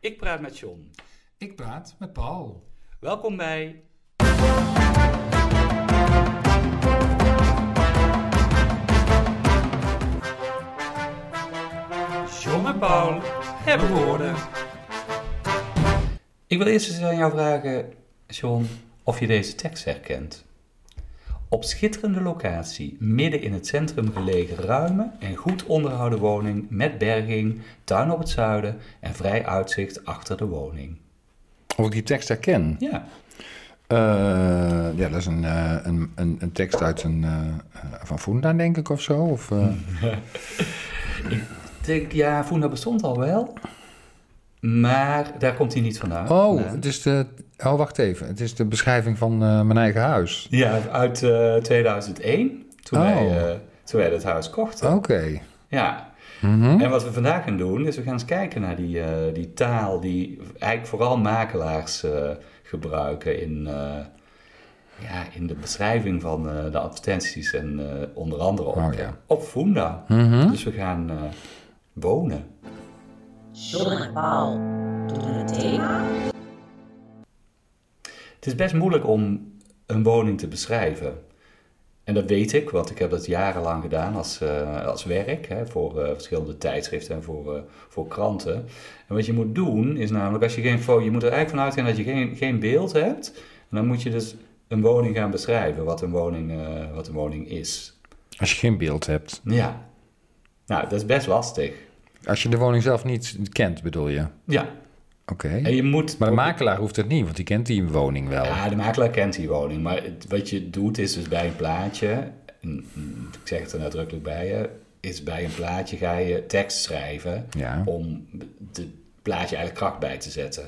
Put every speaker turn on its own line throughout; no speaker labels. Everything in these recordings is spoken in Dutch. Ik praat met John.
Ik praat met Paul.
Welkom bij. John en Paul hebben woorden.
Ik wil eerst eens aan jou vragen, John, of je deze tekst herkent. Op schitterende locatie, midden in het centrum gelegen ruime en goed onderhouden woning met berging, tuin op het zuiden en vrij uitzicht achter de woning.
Of ik die tekst herken?
Ja,
Eh, ja, dat is een, eh, een, een, een tekst uit een, eh, eh, van Funda, denk ik, of zo. Of, eh,
ik denk, ja, Funda bestond al wel, maar daar komt hij niet vandaan.
Oh,
Vandaan.
het is de... Oh, wacht even. Het is de beschrijving van eh, mijn eigen huis.
Ja, uit eh, 2001, toen,
Oh.
wij, eh, toen wij dat huis kochten.
Oké.
Ja,
Mhm.
En wat we vandaag gaan doen, is we gaan eens kijken naar die, eh, die taal die eigenlijk vooral makelaars eh, gebruiken in, eh, ja, in de beschrijving van eh, de advertenties en eh, onder andere op,
Oh, ja.
op Funda.
Mhm.
Dus we gaan eh, wonen.
John en Paul doen het thema.
Het is best moeilijk om een woning te beschrijven. En dat weet ik, want ik heb dat jarenlang gedaan als, eh, als werk hè, voor eh, verschillende tijdschriften en voor, eh, voor kranten. En wat je moet doen is namelijk, als je geen foto, je moet er eigenlijk van uitgaan dat je geen, geen beeld hebt. En dan moet je dus een woning gaan beschrijven, wat een woning, eh, wat een woning is.
Als je geen beeld hebt.
Ja, nou dat is best lastig.
Als je de woning zelf niet kent, bedoel je? Oké.
Ja, en je moet.
Maar de makelaar hoeft het niet, want die kent die woning wel.
Ja, de makelaar kent die woning. Maar het- wat je doet is dus bij een plaatje, en, mm, ik zeg het er nadrukkelijk bij je, is bij een plaatje ga je tekst schrijven
Ja.
om het plaatje eigenlijk kracht bij te zetten.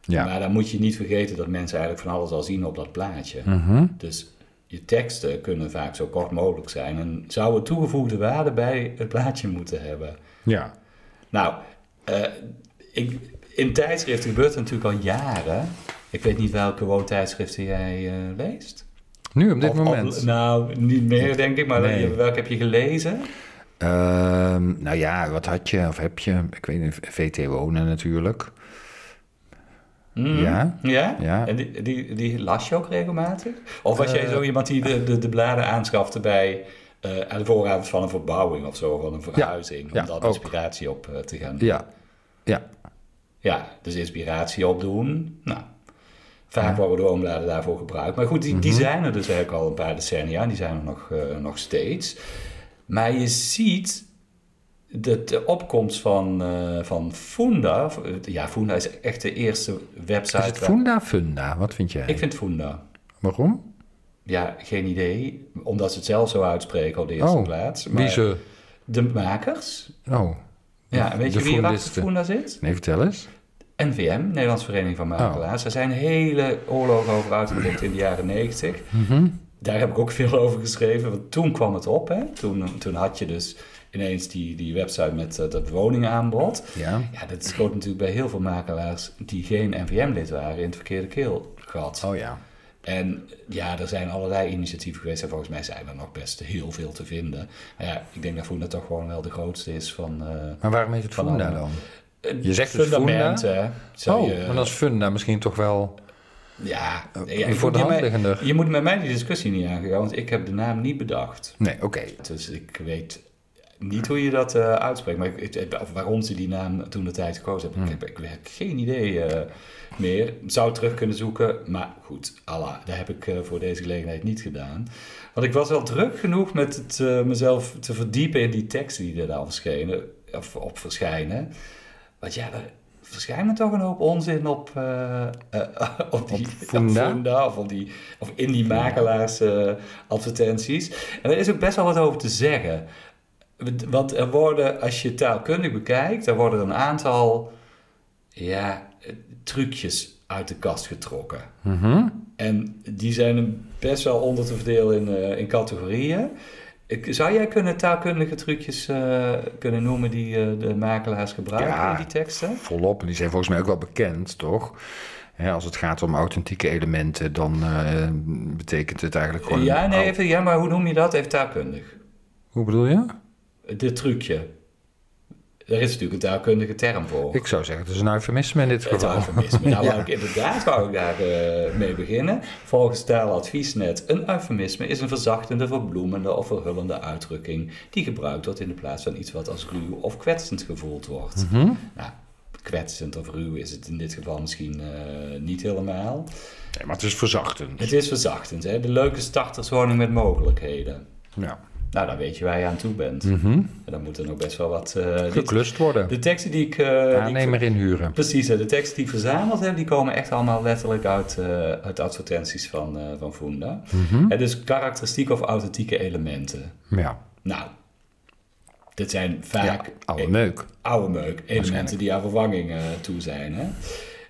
Ja.
Maar dan moet je niet vergeten dat mensen eigenlijk van alles al zien op dat plaatje.
Mhm.
Dus je teksten kunnen vaak zo kort mogelijk zijn en zouden toegevoegde waarde bij het plaatje moeten hebben.
Ja.
Nou, eh, ik, in tijdschriften gebeurt het natuurlijk al jaren. Ik weet niet welke woontijdschriften jij eh, leest.
Nu, op dit
Of- of-
moment.
nou, niet meer denk ik, maar
Nee.
welke- welke heb je gelezen?
Ehm, nou ja, wat had je of heb je? Ik weet niet, VT wonen natuurlijk. Ja.
Ja?
Ja. Eh,
En die, die, die las je ook regelmatig? Of was jij zo iemand die de, de, de bladen aanschafte bij... eh, aan de vooravond van een verbouwing of zo, van een verhuizing.
ja,
om daar
ook.
inspiratie op eh, te gaan
Ja. Ja.
Ja, dus inspiratie opdoen. Nou, vaak worden de oombladen daarvoor gebruikt. Maar goed, die, die
Mhm.
zijn er dus eigenlijk al een paar decennia. en Die zijn er nog, eh, nog steeds. Maar je ziet dat de opkomst van, eh, van Funda... of, eh, Ja, Funda is echt de eerste website...
Is het
waar-
Funda Funda? Wat vind jij?
Ik vind Funda.
Waarom?
Ja, geen idee. Omdat ze het zelf zo uitspreken op de eerste
Oh,
plaats.
Wie ze?
De makers.
Oh,
Ja, en weet
de
je wie er achter
Fundisten.
Funda zit?
nee, vertel eens.
NVM, Nederlands Vereniging van Makelaars.
Oh.
Daar zijn hele oorlogen over uitgevoerd in de jaren 90.
Mhm.
Daar heb ik ook veel over geschreven, want toen kwam het op. Hè? Toen, toen had je dus ineens die, die website met eh, dat woningaanbod.
Ja.
ja, dat schoot natuurlijk bij heel veel makelaars die geen NVM-lid waren in het verkeerde keelgat.
Oh ja.
En ja, er zijn allerlei initiatieven geweest en volgens mij zijn er nog best heel veel te vinden. Maar ja, ik denk dat Voenda toch gewoon wel de grootste is van... eh,
Maar waarom heet het
Van
Funda
allemaal.
dan? Je zegt het
fundament,
Funda?
hè. Zou
Oh,
je-
maar dan is Funda misschien toch wel...
Ja,
Eh,
ja,
voor
goed,
de
je
hand
mij-
liggender.
Je moet met mij die discussie niet aangaan, want ik heb de naam niet bedacht.
Nee, oké.
Dus ik weet niet hoe je dat eh, uitspreekt, maar ik, ik- of waarom ze die naam toen de tijd gekozen hebben.
Hmm.
Ik, heb, ik heb geen idee eh, meer. Zou terug kunnen zoeken, maar goed, Allah, dat heb ik eh, voor deze gelegenheid niet gedaan. Want ik was wel druk genoeg met het, eh, mezelf te verdiepen in die teksten die er dan verschenen, of op verschijnen. Want ja, er verschijnen toch een hoop onzin op, eh, eh, op die op
Funda?
Funda of, op die, of in die makelaars eh, advertenties. En er is ook best wel wat over te zeggen. Want er worden, als je taalkundig bekijkt, er worden een aantal ja, eh, trucjes uit de kast getrokken.
Mhm.
En die zijn best wel onder te verdelen in, eh, in categorieën. Ik- Zou jij kunnen taalkundige trucjes eh, kunnen noemen die eh, de makelaars gebruiken
Ja.
in die teksten?
Volop. En die zijn volgens mij ook wel bekend, toch? Hè, als het gaat om authentieke elementen, dan eh, betekent het eigenlijk gewoon...
ja, nee,
Oh,
even, ja, maar hoe noem je dat? Even taalkundig.
Hoe bedoel je?
Dit trucje. Daar is natuurlijk een taalkundige term voor.
Ik zou zeggen, het is een eufemisme in dit
het
geval.
eufemisme. Nou,
Ja.
wou ik inderdaad wou ik daar eh, mee beginnen. Volgens taaladviesnet, een eufemisme is een verzachtende, verbloemende of verhullende uitdrukking die gebruikt wordt in de plaats van iets wat als ruw of kwetsend gevoeld wordt.
Mhm.
Nou, kwetsend of ruw is het in dit geval misschien eh, niet helemaal.
Nee, maar het is verzachtend.
Het is verzachtend, hè? de leuke starterswoning met mogelijkheden.
Ja.
Nou, dan weet je waar je aan toe bent. En dan moet er nog best wel wat... eh, dit-
Mhm. Geklust worden.
de teksten die ik... eh, die ik-
Aannemer inhuren.
Precies, hè. de teksten die ik verzameld heb, die komen echt allemaal letterlijk uit, eh, uit advertenties van, eh van Funda.
Mhm.
Hè, dus karakteristieke of authentieke elementen.
Ja.
Nou, dit zijn
ja.
vaak
Oude
eh,
meuk.
oude meuk elementen die aan vervanging eh, toe zijn. Hè?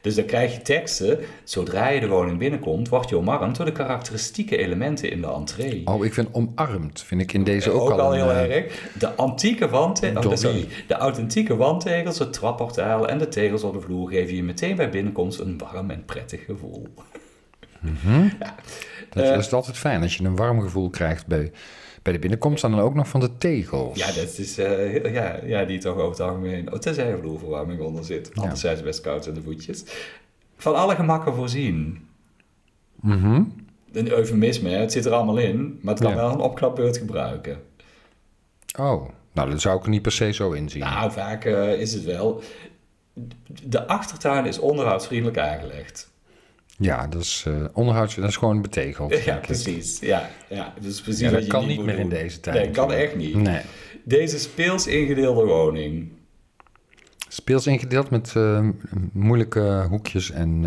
Dus dan krijg je teksten, zodra je de woning binnenkomt, word je omarmd door de karakteristieke elementen in de entree.
Oh, ik vind omarmd, vind ik in deze ook,
Ook, al
een,
heel
eh,
erg. De antieke wandtegels,
Door
sorry,
wie?
de authentieke wandtegels, het trapportaal en de tegels op de vloer geven je meteen bij binnenkomst een warm en prettig gevoel.
Dat
Eh.
is altijd fijn als je een warm gevoel krijgt bij, bij de binnenkomst en dan ook nog van de tegels.
Ja, dat is, eh, heel- ja, ja, die toch over het algemeen, oh, tenzij er vloerverwarming onder zit, anders zijn ze best koud in de voetjes. Van alle gemakken voorzien.
Mhm.
Een eufemisme, hè, het zit er allemaal in, maar het kan
Ja.
wel een opknapbeurt gebruiken.
Oh, nou, dat zou ik er niet per se zo inzien.
Nou, vaak eh, is het wel. De achtertuin is onderhoudsvriendelijk aangelegd.
Ja, dat is eh onderhoud, dat is gewoon betegeld.
Ja,
denk ik.
precies. Ja, ja. Dus precies
Ja, dat
wat je
kan niet
moet
meer in
doen.
deze tijd.
Nee, kan echt niet.
Nee.
Deze speels ingedeelde woning.
Speels ingedeeld met eh, moeilijke hoekjes en,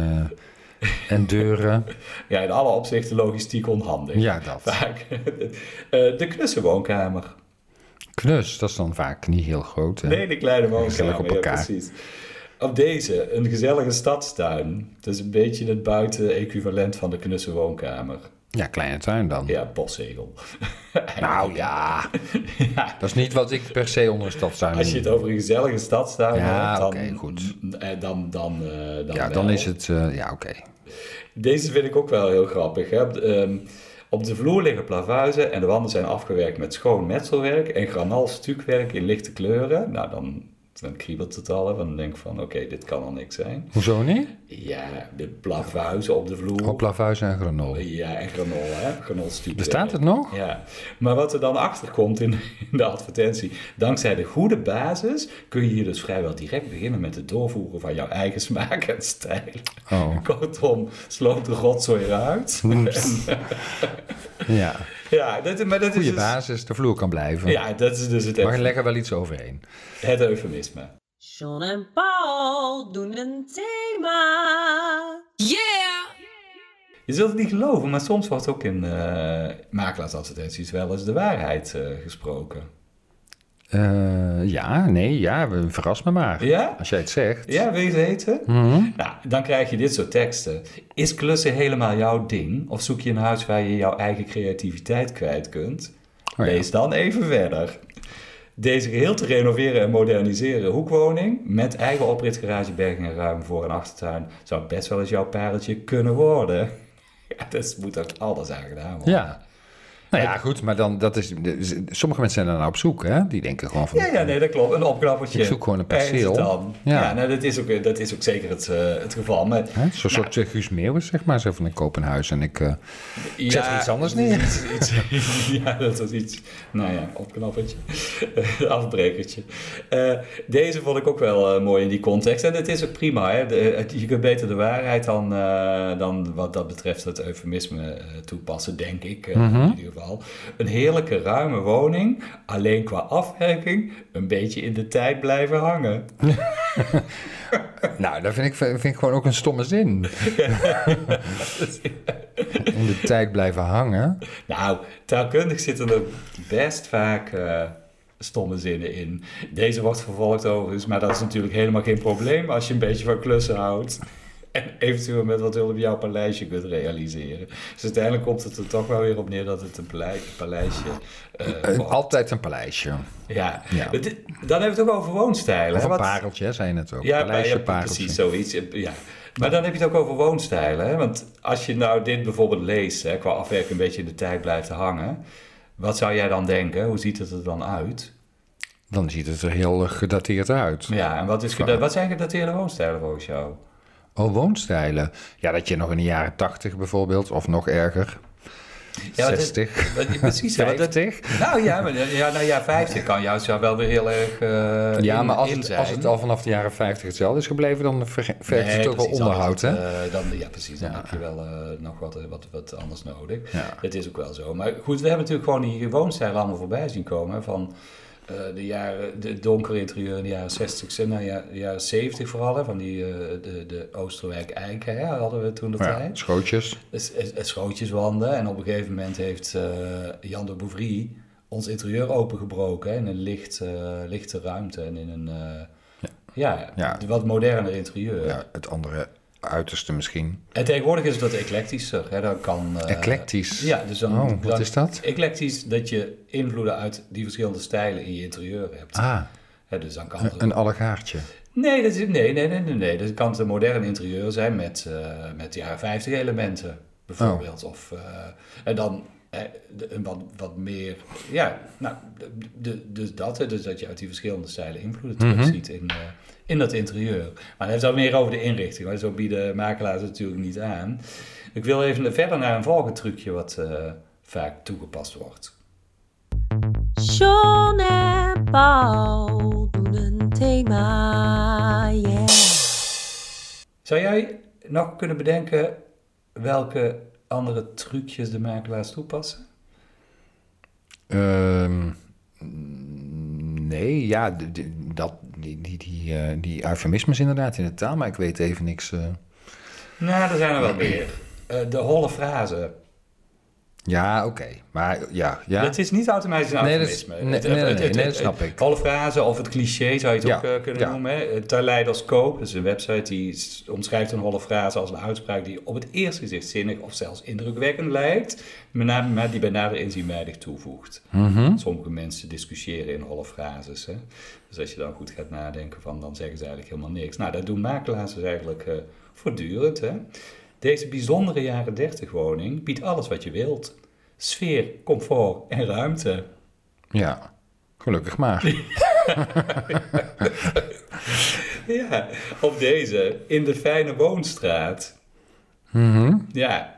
eh, en deuren.
Ja, in alle opzichten logistiek onhandig.
Ja, dat.
Vaak. Eh, de knussenwoonkamer.
Knus, dat is dan vaak niet heel groot. Hè?
Nee, de kleine
Gezellig op
woonkamer. Ja,
elkaar.
precies. Op deze, een gezellige stadstuin. Dat is een beetje het buiten-equivalent van de knussenwoonkamer.
Ja, kleine tuin dan.
Ja, boszegel.
Nou ja. dat is niet wat ik per se onder een stadstuin
Als je het over een gezellige stadstuin
Hmm. Ja,
hebt, dan,
oké, goed.
eh, dan, dan, eh, dan
Ja, dan
wel.
is het... eh, ja, oké.
Deze vind ik ook wel heel grappig. Hè? Op de, ehm, op de vloer liggen plavuizen en de wanden zijn afgewerkt met schoon metselwerk en granal stukwerk in lichte kleuren. Nou, dan, dan kriebelt het al, hè? want dan denk ik van, oké, dit kan al niks zijn.
Hoezo niet?
Ja, de plavuizen op de vloer.
Op Lavuis en Grenoble.
Ja, en granol, hè? Granol stukwerk.
Bestaat het nog?
Ja, maar wat er dan achter komt in, in de advertentie, dankzij de goede basis kun je hier dus vrijwel direct beginnen met het doorvoeren van jouw eigen smaak en stijl.
Oh.
Kortom, sloot de rotzooi eruit.
Ja.
Ja, dat, maar dat is
Goede
dus-
basis, de vloer kan blijven.
Ja, dat is dus het,
Maar
euf-
leg er wel iets overheen.
het eufemisme.
John en Paul doen een thema.
Je zult het niet geloven, maar soms wordt ook in eh makelaarsadvertenties wel eens de waarheid eh, gesproken.
Eh, ja, nee, ja, we- verras me maar.
Ja?
Als jij het zegt.
Ja, wil je het weten?
Mhm.
Nou, dan krijg je dit soort teksten. Is klussen helemaal jouw ding? Of zoek je een huis waar je jouw eigen creativiteit kwijt kunt?
Oh ja.
Lees dan even verder. Deze geheel te renoveren en moderniseren hoekwoning met eigen oprit, garage, berging en ruim voor- en achtertuin zou best wel eens jouw pareltje kunnen worden. Ja, dat moet er alles aan gedaan worden.
Ja. Nou ja, goed, maar dan, dat is, sommige mensen zijn daar nou op zoek, hè? Die denken gewoon van...
Ja, ja, nee, dat klopt. Een opknappertje.
Ik zoek gewoon een
Daar is het
perceel.
dan.
Ja.
Ja, nou, dat, is ook, dat is ook zeker het, eh, het geval. Maar
Hè? Zo'n soort eh, Guus Meeuwis, zeg maar. Zo van, ik koop een huis en ik... eh,
Ik
zet er iets anders neer.
ja, dat was iets. Nou ja, opknappertje. Eh, Afbrekertje. Eh, deze vond ik ook wel eh, mooi in die context. En het is ook prima. Hè? De- het- je kunt beter de waarheid dan, eh, dan wat dat betreft het eufemisme eh, toepassen, denk ik. eh, In ieder geval. Een heerlijke ruime woning. Alleen qua afwerking een beetje in de tijd blijven hangen.
nou, dat vind ik, vind ik gewoon ook een stomme zin. In de tijd blijven hangen.
Nou, taalkundig zitten er best vaak eh, stomme zinnen in. Deze wordt vervolgd overigens, maar dat is natuurlijk helemaal geen probleem als je een beetje van klussen houdt. En eventueel met wat hulp jouw paleisje kunt realiseren. Dus uiteindelijk komt het er toch wel weer op neer dat het een palei- paleisje eh,
Eh,
wordt.
altijd een paleisje.
Ja.
Ja.
Het- Dan hebben we het ook over woonstijlen.
Of
hè,
een
wat-
pareltje, hè, zei je net ook.
ja,
paleisje,
ja,
pareltje.
precies, zoiets. Ja. Maar dan heb je het ook over woonstijlen. Hè? Want als je nou dit bijvoorbeeld leest, hè, qua afwerking een beetje in de tijd blijft hangen. Wat zou jij dan denken? Hoe ziet het er dan uit?
dan ziet het er heel eh, gedateerd uit.
Ja, en wat, is geda- wat zijn gedateerde woonstijlen volgens jou?
Oh, woonstijlen. Ja, dat je nog in de jaren 80 bijvoorbeeld, of nog erger.
Ja, wat is-
60.
wat- precies. ja, wat- dat-
50?
nou ja, maar, ja, nou ja, 50 kan juist wel wel weer heel erg eh
ja,
in-
maar als
in
het,
zijn.
als het al vanaf de jaren 50 hetzelfde is gebleven, dan verge- vergt
Nee,
het ook wel
precies, dan
onderhoud,
is
hè?
het, eh, dan, ja, precies. Dan heb je wel eh, nog wat, eh, wat, wat anders nodig.
Ja.
Dat is ook wel zo. Maar goed, we hebben natuurlijk gewoon die woonstijl allemaal voorbij zien komen. hè, Van eh, de jaren, de donkere interieur in de jaren 60 en nou, ja, de jaren 70 vooral. Hè, van die, eh, de, de Oosterwijk Eiken hè, hadden we toen de
Ja,
tijd.
schootjes.
Het- het- het Schootjeswanden. En op een gegeven moment heeft eh, Jan de Bouvry ons interieur opengebroken. Hè, in een licht, eh, lichte ruimte en in een... eh, ja.
Ja.
wat moderner interieur.
Ja, het andere uiterste misschien.
En tegenwoordig is het wat eclectischer. Hè? Dan kan, eh,
Eclectisch.
Ja, dus dan,
Oh, wat
dan-
is dat?
Eclectisch dat je invloeden uit die verschillende stijlen in je interieur hebt.
Ah, eh,
Hè, dus dan kan
een allegaartje.
Nee, dat is, nee, nee, nee, nee, nee. Dat kan een modern interieur zijn met, eh, met jaren 50 elementen, bijvoorbeeld. Of, eh, en dan eh, de- een wat, wat meer, ja, nou, de- de- dus dat. hè, Dus dat je uit die verschillende stijlen invloeden terugziet in, eh, in dat interieur. Maar dan heeft het meer over de inrichting. Maar zo bieden makelaars het natuurlijk niet aan. Ik wil even verder naar een volgend trucje wat eh, vaak toegepast wordt.
John en Paul doen een thema. Yeah.
Zou jij nog kunnen bedenken welke andere trucjes de makelaars toepassen?
Ehm, mm, nee, ja, d- d- dat, die, die, die, eh, die eufemismes inderdaad in de taal, maar ik weet even niks. eh.
Nou, er zijn er wel meer. Eh, de holle frase.
Ja, oké. Maar ja, ja.
Dat is niet automatisch een
Nee, dat is-
eufemisme.
nee,
Het-
nee,
het-
nee,
het-
nee,
het-
dat
het-
snap ik.
Holle frase of het cliché zou je het
Ja,
ook eh, kunnen
ja.
noemen. hè. Eh, Terleiders.koop, dat is een website die s- omschrijft een holle frase als een uitspraak die op het eerste gezicht zinnig of zelfs indrukwekkend lijkt, maar na- maar die bij nader inzien weinig toevoegt.
Mhm.
Sommige mensen discussiëren in holle frases. Hè? Dus als je dan goed gaat nadenken van, dan zeggen ze eigenlijk helemaal niks. Nou, dat doen makelaars dus eigenlijk eh, voortdurend. Hè? Deze bijzondere jaren 30 woning biedt alles wat je wilt. Sfeer, comfort en ruimte.
Ja, gelukkig maar.
Ja, op deze, in de fijne woonstraat. Ja,
Mhm, ja,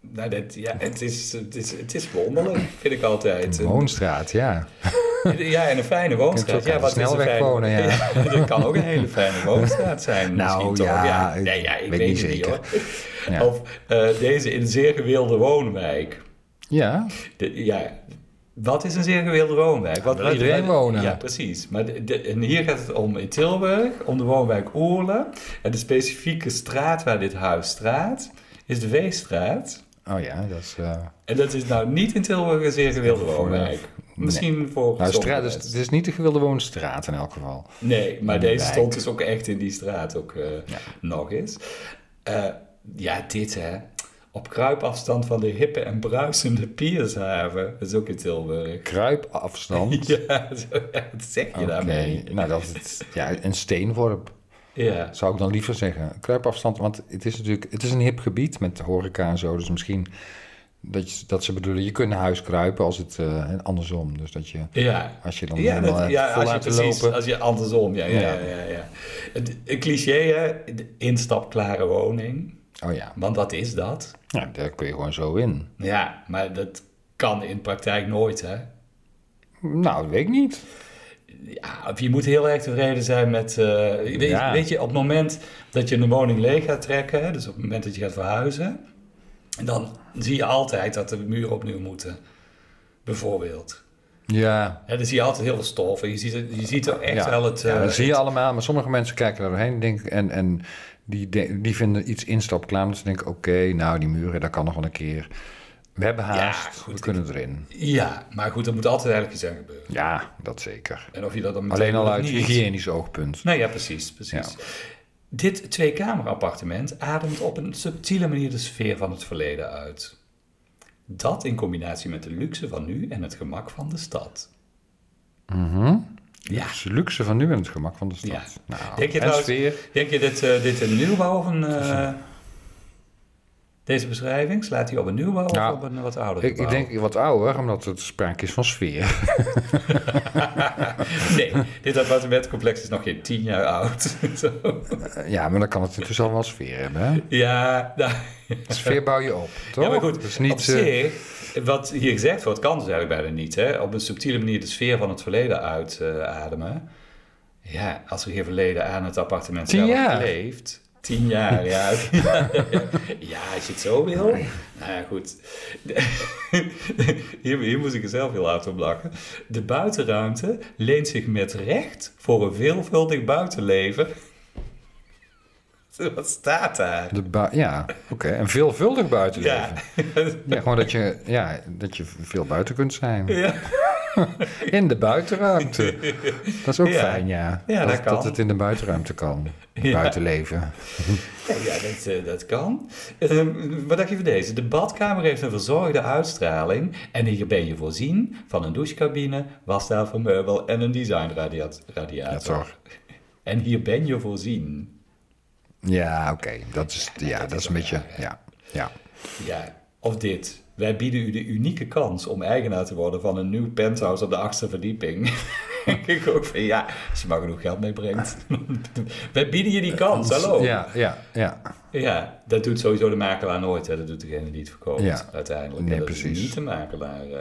nou dat, ja het, is, het, is, het is wonderlijk, vind ik altijd.
woonstraat, ja.
Ja, en een fijne woonstraat.
Je kunt
Ja, wat
ook aan de
is een
snelweg
fijne
wonen, ja.
dat kan ook een hele fijne woonstraat zijn.
Nou,
misschien toch.
ja,
ja,
ik
Nee, ja, ik
weet
weet,
niet
het niet
zeker.
hoor.
Ja.
Of eh, deze in een zeer gewilde woonwijk.
Ja,
De- ja, wat is een zeer gewilde woonwijk? Wat,
wil
wat-
iedereen
wat-
wonen.
Ja, precies. Maar de- de- en hier gaat het om in Tilburg, om de woonwijk Oerle. En de specifieke straat waar dit huis staat, is de Weestraat.
oh ja, dat is... eh,
En dat is nou niet in Tilburg een zeer gewilde woonwijk. Misschien voor
nou, straat,
sommige
dus,
mensen.
het is niet de gewilde woonstraat in elk geval.
Nee, maar
In de
deze
wijk.
stond dus ook echt in die straat ook eh, nog eens. Eh, ja, dit hè. Op kruipafstand van de hippe en bruisende Piershaven. Dat is ook in Tilburg.
Kruipafstand.
Ja, zo, ja, wat zeg je
Oké,
daarmee?
nou dat is het, ja, een steenworp.
Ja.
Zou ik dan liever zeggen. Kruipafstand, want het is natuurlijk het is een hip gebied met horeca en zo. Dus misschien dat, je, dat ze bedoelen, je kunt naar huis kruipen als het eh, en andersom. Dus dat je,
Ja.
als je dan
Ja,
helemaal
dat,
hebt
ja,
vol
als je
laten
precies,
lopen.
als je andersom, ja, ja, ja.
Ja.
ja, ja. Het- Een cliché, hè, de instapklare woning.
Oh ja.
Want wat is dat?
ja, daar kun je gewoon zo in.
Ja, maar dat kan in praktijk nooit, hè.
Nou, dat weet ik niet.
Ja, of je moet heel erg tevreden zijn met... eh, weet,
Ja.
weet je, op het moment dat je een woning leeg gaat trekken... hè, dus op het moment dat je gaat verhuizen... dan zie je altijd dat de muren opnieuw moeten. Bijvoorbeeld.
Ja,
Hè, dan zie je altijd heel veel stof. En je ziet, het- je ziet er echt wel het...
ja,
eh,
dat zie je allemaal. Maar sommige mensen kijken daar doorheen denk, ik, en, en die, de- die vinden iets instapklaar. Dus ze denken, oké, nou die muren, dat kan nog wel een keer. We hebben haast,
goed,
we kunnen erin.
Ja, maar goed, er moet altijd eigenlijk iets aan gebeuren.
Ja, dat zeker.
En of je dat dan meteen
Alleen al
doet of
uit
niet.
hygiënisch oogpunt.
Nou ja, precies, precies. Dit tweekamerappartement ademt op een subtiele manier de sfeer van het verleden uit. Dat in combinatie met de luxe van nu en het gemak van de stad. Ja.
Het is luxe van nu en het gemak van de stad.
Ja.
Nou,
Denk je
en
trouwens-
sfeer.
Denk je dat eh, dit een nieuwbouw of een... eh, Deze beschrijving, slaat hij op een nieuwbouw
Ja.
of op een wat ouder
Nou, Ik, ik denk wat ouder, omdat het sprake is van sfeer.
Nee, dit appartementcomplex is nog geen tien jaar oud. Zo.
Ja, maar dan kan het intussen al wel sfeer hebben. hè?
ja, nou,
Sfeer bouw je op, toch?
ja, maar goed,
Dat is
op
niet, eh,
zich, wat hier gezegd wordt, kan dus eigenlijk bijna niet. Hè? Op een subtiele manier de sfeer van het verleden uitademen. ja, als er geen verleden aan het appartement
Tien
zelf
jaar.
leeft... Tien jaar, ja. ja, als je het zo wil. Nou ja, goed. hier, hier moest ik er zelf heel hard op lachen. De buitenruimte leent zich met recht voor een veelvuldig buitenleven. Wat staat daar?
de bui- ja, oké. En veelvuldig
Ja,
buitenleven. Ja. gewoon dat je, ja, dat je veel buiten kunt zijn.
Ja.
In de buitenruimte. Dat is ook
Ja.
fijn, ja.
Ja, dat kan.
dat het in de buitenruimte kan.
Ja.
Buitenleven.
Ja, dat, eh, dat kan. Ehm, wat dacht je van deze? De badkamer heeft een verzorgde uitstraling. En hier ben je voorzien van een douchecabine, wastafelmeubel en een designradiator.
Ja, toch.
En hier ben je voorzien.
Ja, oké. Dat is, ja, dat is een beetje, ja. ja.
Ja, of dit. Wij bieden u de unieke kans om eigenaar te worden van een nieuw penthouse op de achtste verdieping. Denk ik ook van ja, als je maar genoeg geld meebrengt. Wij bieden je die kans, hallo.
Ja, ja, ja.
Ja, dat doet sowieso de makelaar nooit. Hè? Dat doet degene die het verkoopt
Ja.
uiteindelijk.
Nee,
dat
precies.
is niet de makelaar. eh.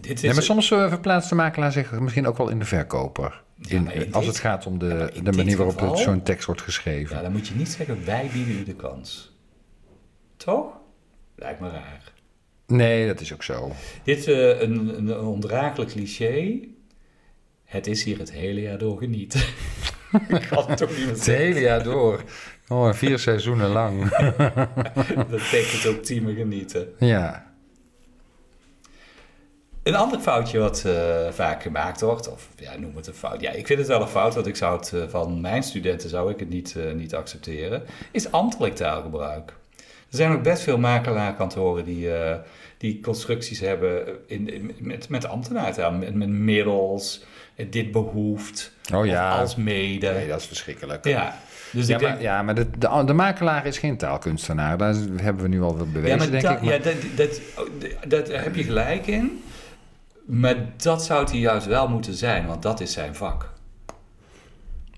dit is
Nee, maar soms eh, verplaatst de makelaar zich misschien ook wel in de verkoper. In,
maar in
als
dit-
het gaat om de,
in
de manier
dit
waarop
geval-
het zo'n tekst wordt geschreven.
Ja, dan moet je niet zeggen, wij bieden u de kans. Toch? Lijkt me raar.
Nee, dat is ook zo.
Dit is eh, een, een ondraaglijk cliché. Het is hier het hele jaar door genieten. Ik kan het toch niet meer
Het
zeggen.
hele jaar door. Oh, vier seizoenen lang.
Dat betekent ook teamen genieten.
Ja.
Een ander foutje wat eh, vaak gemaakt wordt, of ja, noem het een fout. Ja, ik vind het wel een fout, want ik zou het eh, van mijn studenten zou ik het niet, eh, niet accepteren, is ambtelijk taalgebruik. Er zijn ook best veel makelaarkantoren die, eh, die constructies hebben eh, in, in- met, met ambtenaartaal, met, met middels, eh, dit behoeft,
Oh ja.
of als mede.
Nee, dat is verschrikkelijk.
Ja, dus
Ja,
ik denk,
maar, ja, maar de, de, de makelaar is geen taalkunstenaar. Daar hebben we nu al wat bewezen,
ja, maar
denk
da-
ik. Maar,
Ja, dat, dat, dat, daar heb je gelijk in. Maar dat zou hij juist wel moeten zijn, want dat is zijn vak.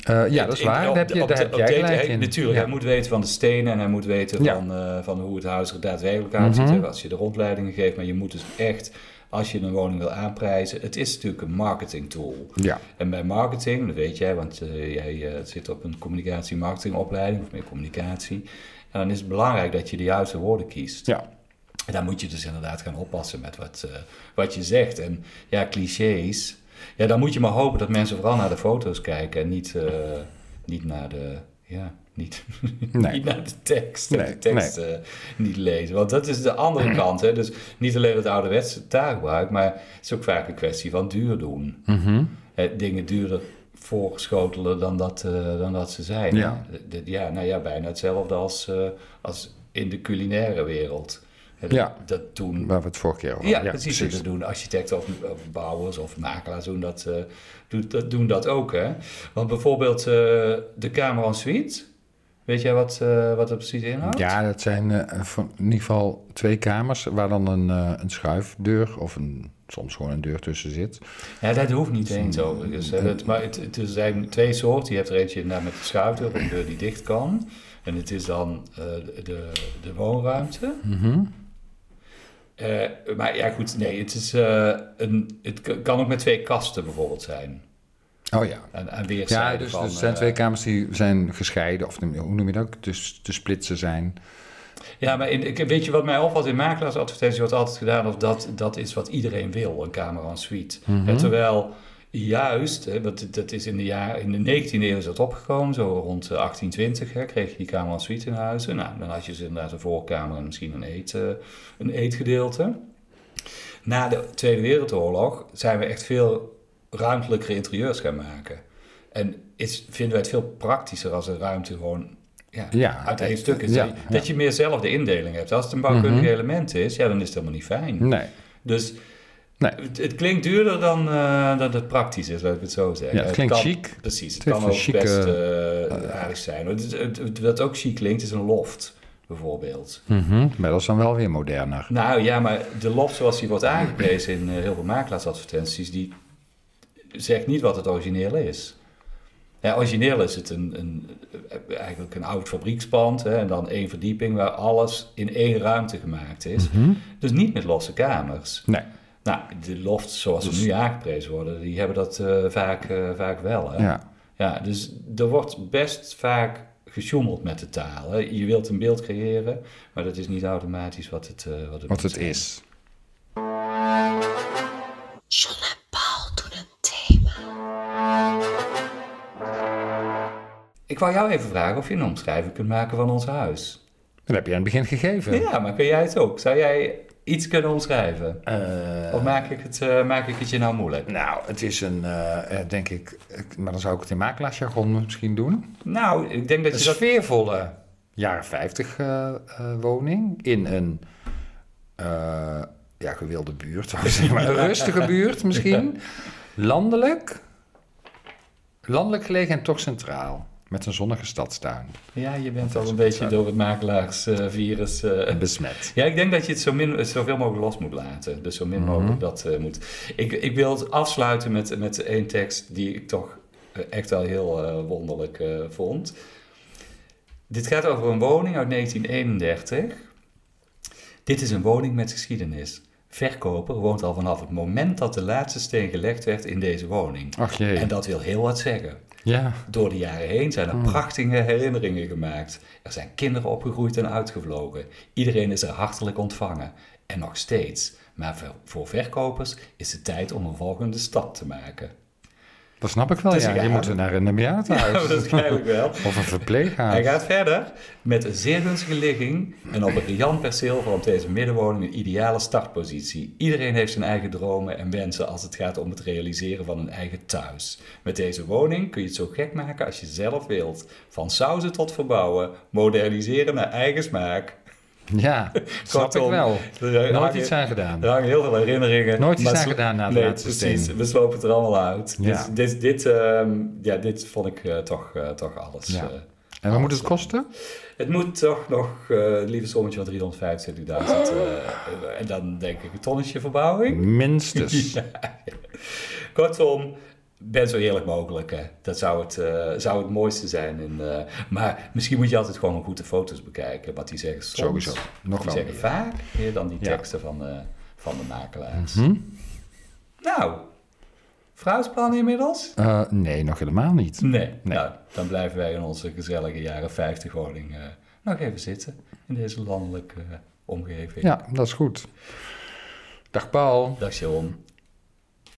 Eh, ja, dat is
In-
waar.
op
Daar heb,
de-
je,
op
daar
de-
heb
op
jij
de-
gelijk
hij-
in.
Natuurlijk,
Ja.
hij moet weten van de stenen en hij moet weten
Ja. Mhm.
van, eh, van hoe het huis er daadwerkelijk uitziet. hè, Als je de rondleidingen geeft, maar je moet dus echt, als je een woning wil aanprijzen, het is natuurlijk een marketing tool.
Ja.
En bij marketing, dat weet jij, want eh, jij eh, zit op een communicatie-marketingopleiding of meer communicatie. En dan is het belangrijk dat je de juiste woorden kiest.
Ja.
En daar moet je dus inderdaad gaan oppassen met wat, eh, wat je zegt. En ja, clichés. Ja, dan moet je maar hopen dat mensen vooral naar de foto's kijken en niet, eh, niet naar de. Ja, niet,
Nee.
niet naar de tekst. en
Nee, Mm-hmm.
de tekst eh, niet lezen. Want dat is de andere kant. Hè? Dus niet alleen het ouderwetse taalgebruik, maar het is ook vaak een kwestie van duur doen.
Mm-hmm.
Eh, dingen duurder voorschotelen dan dat, eh, dan dat ze zijn. hè.
Ja.
De- de- ja, nou ja, bijna hetzelfde als, eh, als in de culinaire wereld. Hè, dat-
Ja.
Dat doen
Waar we het vorige keer over
ja,
hadden.
precies. Dus Dat doen architecten of, of bouwers of makelaars doen dat, eh, doen, dat, doen dat ook. Hè? Want bijvoorbeeld eh, de kamer en suite. Weet jij wat, eh, wat dat precies inhoudt?
Ja, dat zijn eh, van, in ieder geval twee kamers waar dan een, eh, een schuifdeur of een, soms gewoon een deur tussen zit.
Ja, dat hoeft niet eens overigens. Hè. Dus, eh, Dat, maar het, het- er zijn twee soorten. Je hebt er eentje inderdaad met de schuifdeur, of een deur die dicht kan. En het is dan eh, de, de woonruimte.
Mhm.
Eh, maar ja, goed, nee, het, is, eh, een, het k- kan ook met twee kasten bijvoorbeeld zijn.
Oh ja.
Aan, aan weerszijden
Ja, dus
van,
er zijn
eh,
twee kamers die zijn gescheiden, of hoe noem je dat ook, dus te splitsen zijn.
Ja, maar in, ik- weet je wat mij opvalt in makelaarsadvertenties wordt altijd gedaan of dat, dat is wat iedereen wil, een camera en suite.
Mhm.
Hè, terwijl juist, hè, want dat is in de, jaar, in de 19e eeuw is dat opgekomen, zo rond eh, 1820 hè, kreeg je die camera en suite in huizen. Nou, dan had je dus inderdaad een voorkamer en misschien een, eet, eh, een eetgedeelte. Na de Tweede Wereldoorlog zijn we echt veel ruimtelijkere interieurs gaan maken. En is, vinden wij het veel praktischer als een ruimte gewoon ja,
Ja,
uit één
het-
stuk is.
ja,
dat, je- dat je meer zelf de indeling hebt. Als het een bouwkundig
Mhm.
element is, ja, dan is het helemaal niet fijn.
Nee.
Dus
Mhm. Nee.
het, het klinkt duurder dan eh, dat het praktisch is, laat ik het zo zeggen.
Ja, het klinkt
kan-
chic.
Precies, het
heeft
kan
een
ook
chique, eh,
best eh, aardig zijn. Het, is- het- het- wat ook chic klinkt, is een loft. bijvoorbeeld.
Mhm, Maar dat is dan wel weer moderner.
Nou ja, maar de lof zoals die wordt aangeprezen in eh, heel veel makelaarsadvertenties, die zegt niet wat het origineel is. Ja, origineel is het een, een, eh, eigenlijk een oud fabriekspand hè, en dan één verdieping waar alles in één ruimte gemaakt is. Dus niet met losse kamers.
Nee.
Nou, de lofts zoals ze nu aangeprezen worden, die hebben dat eh, vaak, eh, vaak wel. Hè?
Ja.
Ja, dus er wordt best vaak gesjoemeld met de taal. Hè. Je wilt een beeld creëren, maar dat is niet automatisch wat het, eh, wat het
Wat
moet
het
zijn.
is.
John en Paul doen een thema.
Ik wou jou even vragen of je een omschrijving kunt maken van ons huis.
Dat heb je aan het begin gegeven.
Ja, maar kun jij het ook? Zou jij iets kunnen omschrijven?
Eh,
Of maak ik, het, eh, maak ik het je nou moeilijk?
nou, het is een, eh, eh, denk ik, ik- maar dan zou ik het in makelaarsjargon misschien doen.
Nou, ik denk dat
Een
je dat...
sfeervolle jaren 50 eh, eh, woning in een eh, ja, gewilde buurt, zou ik zeggen, maar een rustige buurt misschien. Landelijk, landelijk gelegen en toch centraal, met een zonnige stadstuin.
Ja, je bent al een beetje door het makelaarsvirus... eh,
Besmet.
Ja, ik denk dat je het zo min, zoveel mogelijk los moet laten. Dus zo min mogelijk dat eh, moet. Ik, ik wil het afsluiten met, met één tekst die ik toch eh, echt wel heel eh, wonderlijk eh, vond. Dit gaat over een woning uit 1931. Dit is een woning met geschiedenis. Verkoper woont al vanaf het moment dat de laatste steen gelegd werd in deze woning.
Ach jee.
En dat wil heel wat zeggen.
Ja.
Door de jaren heen zijn er prachtige herinneringen gemaakt. Er zijn kinderen opgegroeid en uitgevlogen. Iedereen is er hartelijk ontvangen. En nog steeds. Maar voor, voor verkopers is het tijd om een volgende stap te maken.
Dat snap ik wel,
Het is
ja. Je
raar.
moet er naar een bejaardentehuis.
Waarschijnlijk wel.
Of een
Hij
verpleeghuis.
gaat verder. Met een zeer gunstige ligging en op een riant perceel vormt deze middenwoning een ideale startpositie. Iedereen heeft zijn eigen dromen en wensen als het gaat om het realiseren van een eigen thuis. Met deze woning kun je het zo gek maken als je zelf wilt. Van sauzen tot verbouwen, moderniseren naar eigen smaak.
Ja, snap ik
Kortom,
wel.
er hangen-
Nooit iets aan gedaan.
Er hangen heel veel herinneringen.
Nooit iets
maar
aan
sl-
gedaan na het
nee,
laatste
precies.
steen.
We slopen het er allemaal uit.
Ja.
Dus dit, dit, ehm, ja, dit vond ik eh, toch, eh, toch alles.
Ja.
eh,
En wat moet het kosten?
het moet toch nog eh het lieve sommetje van 375.000.
Oh.
eh, en dan denk ik een tonnetje verbouwing.
Minstens.
Kortom, ben zo eerlijk mogelijk. Hè. Dat zou het, eh, zou het mooiste zijn. En, eh, maar misschien moet je altijd gewoon een goede foto's bekijken. Wat die zeggen soms.
Sowieso. Nog
Die
wel.
zeggen
meer.
vaak meer dan die
Ja. Mhm.
teksten van, eh, van de makelaars. Nou, vrouwspan inmiddels?
Eh, nee, nog helemaal niet.
Nee. Nou, dan blijven wij in onze gezellige jaren 50 woning eh, nog even zitten. In deze landelijke eh, omgeving.
Ja, dat is goed. Dag Paul.
Dag Sharon.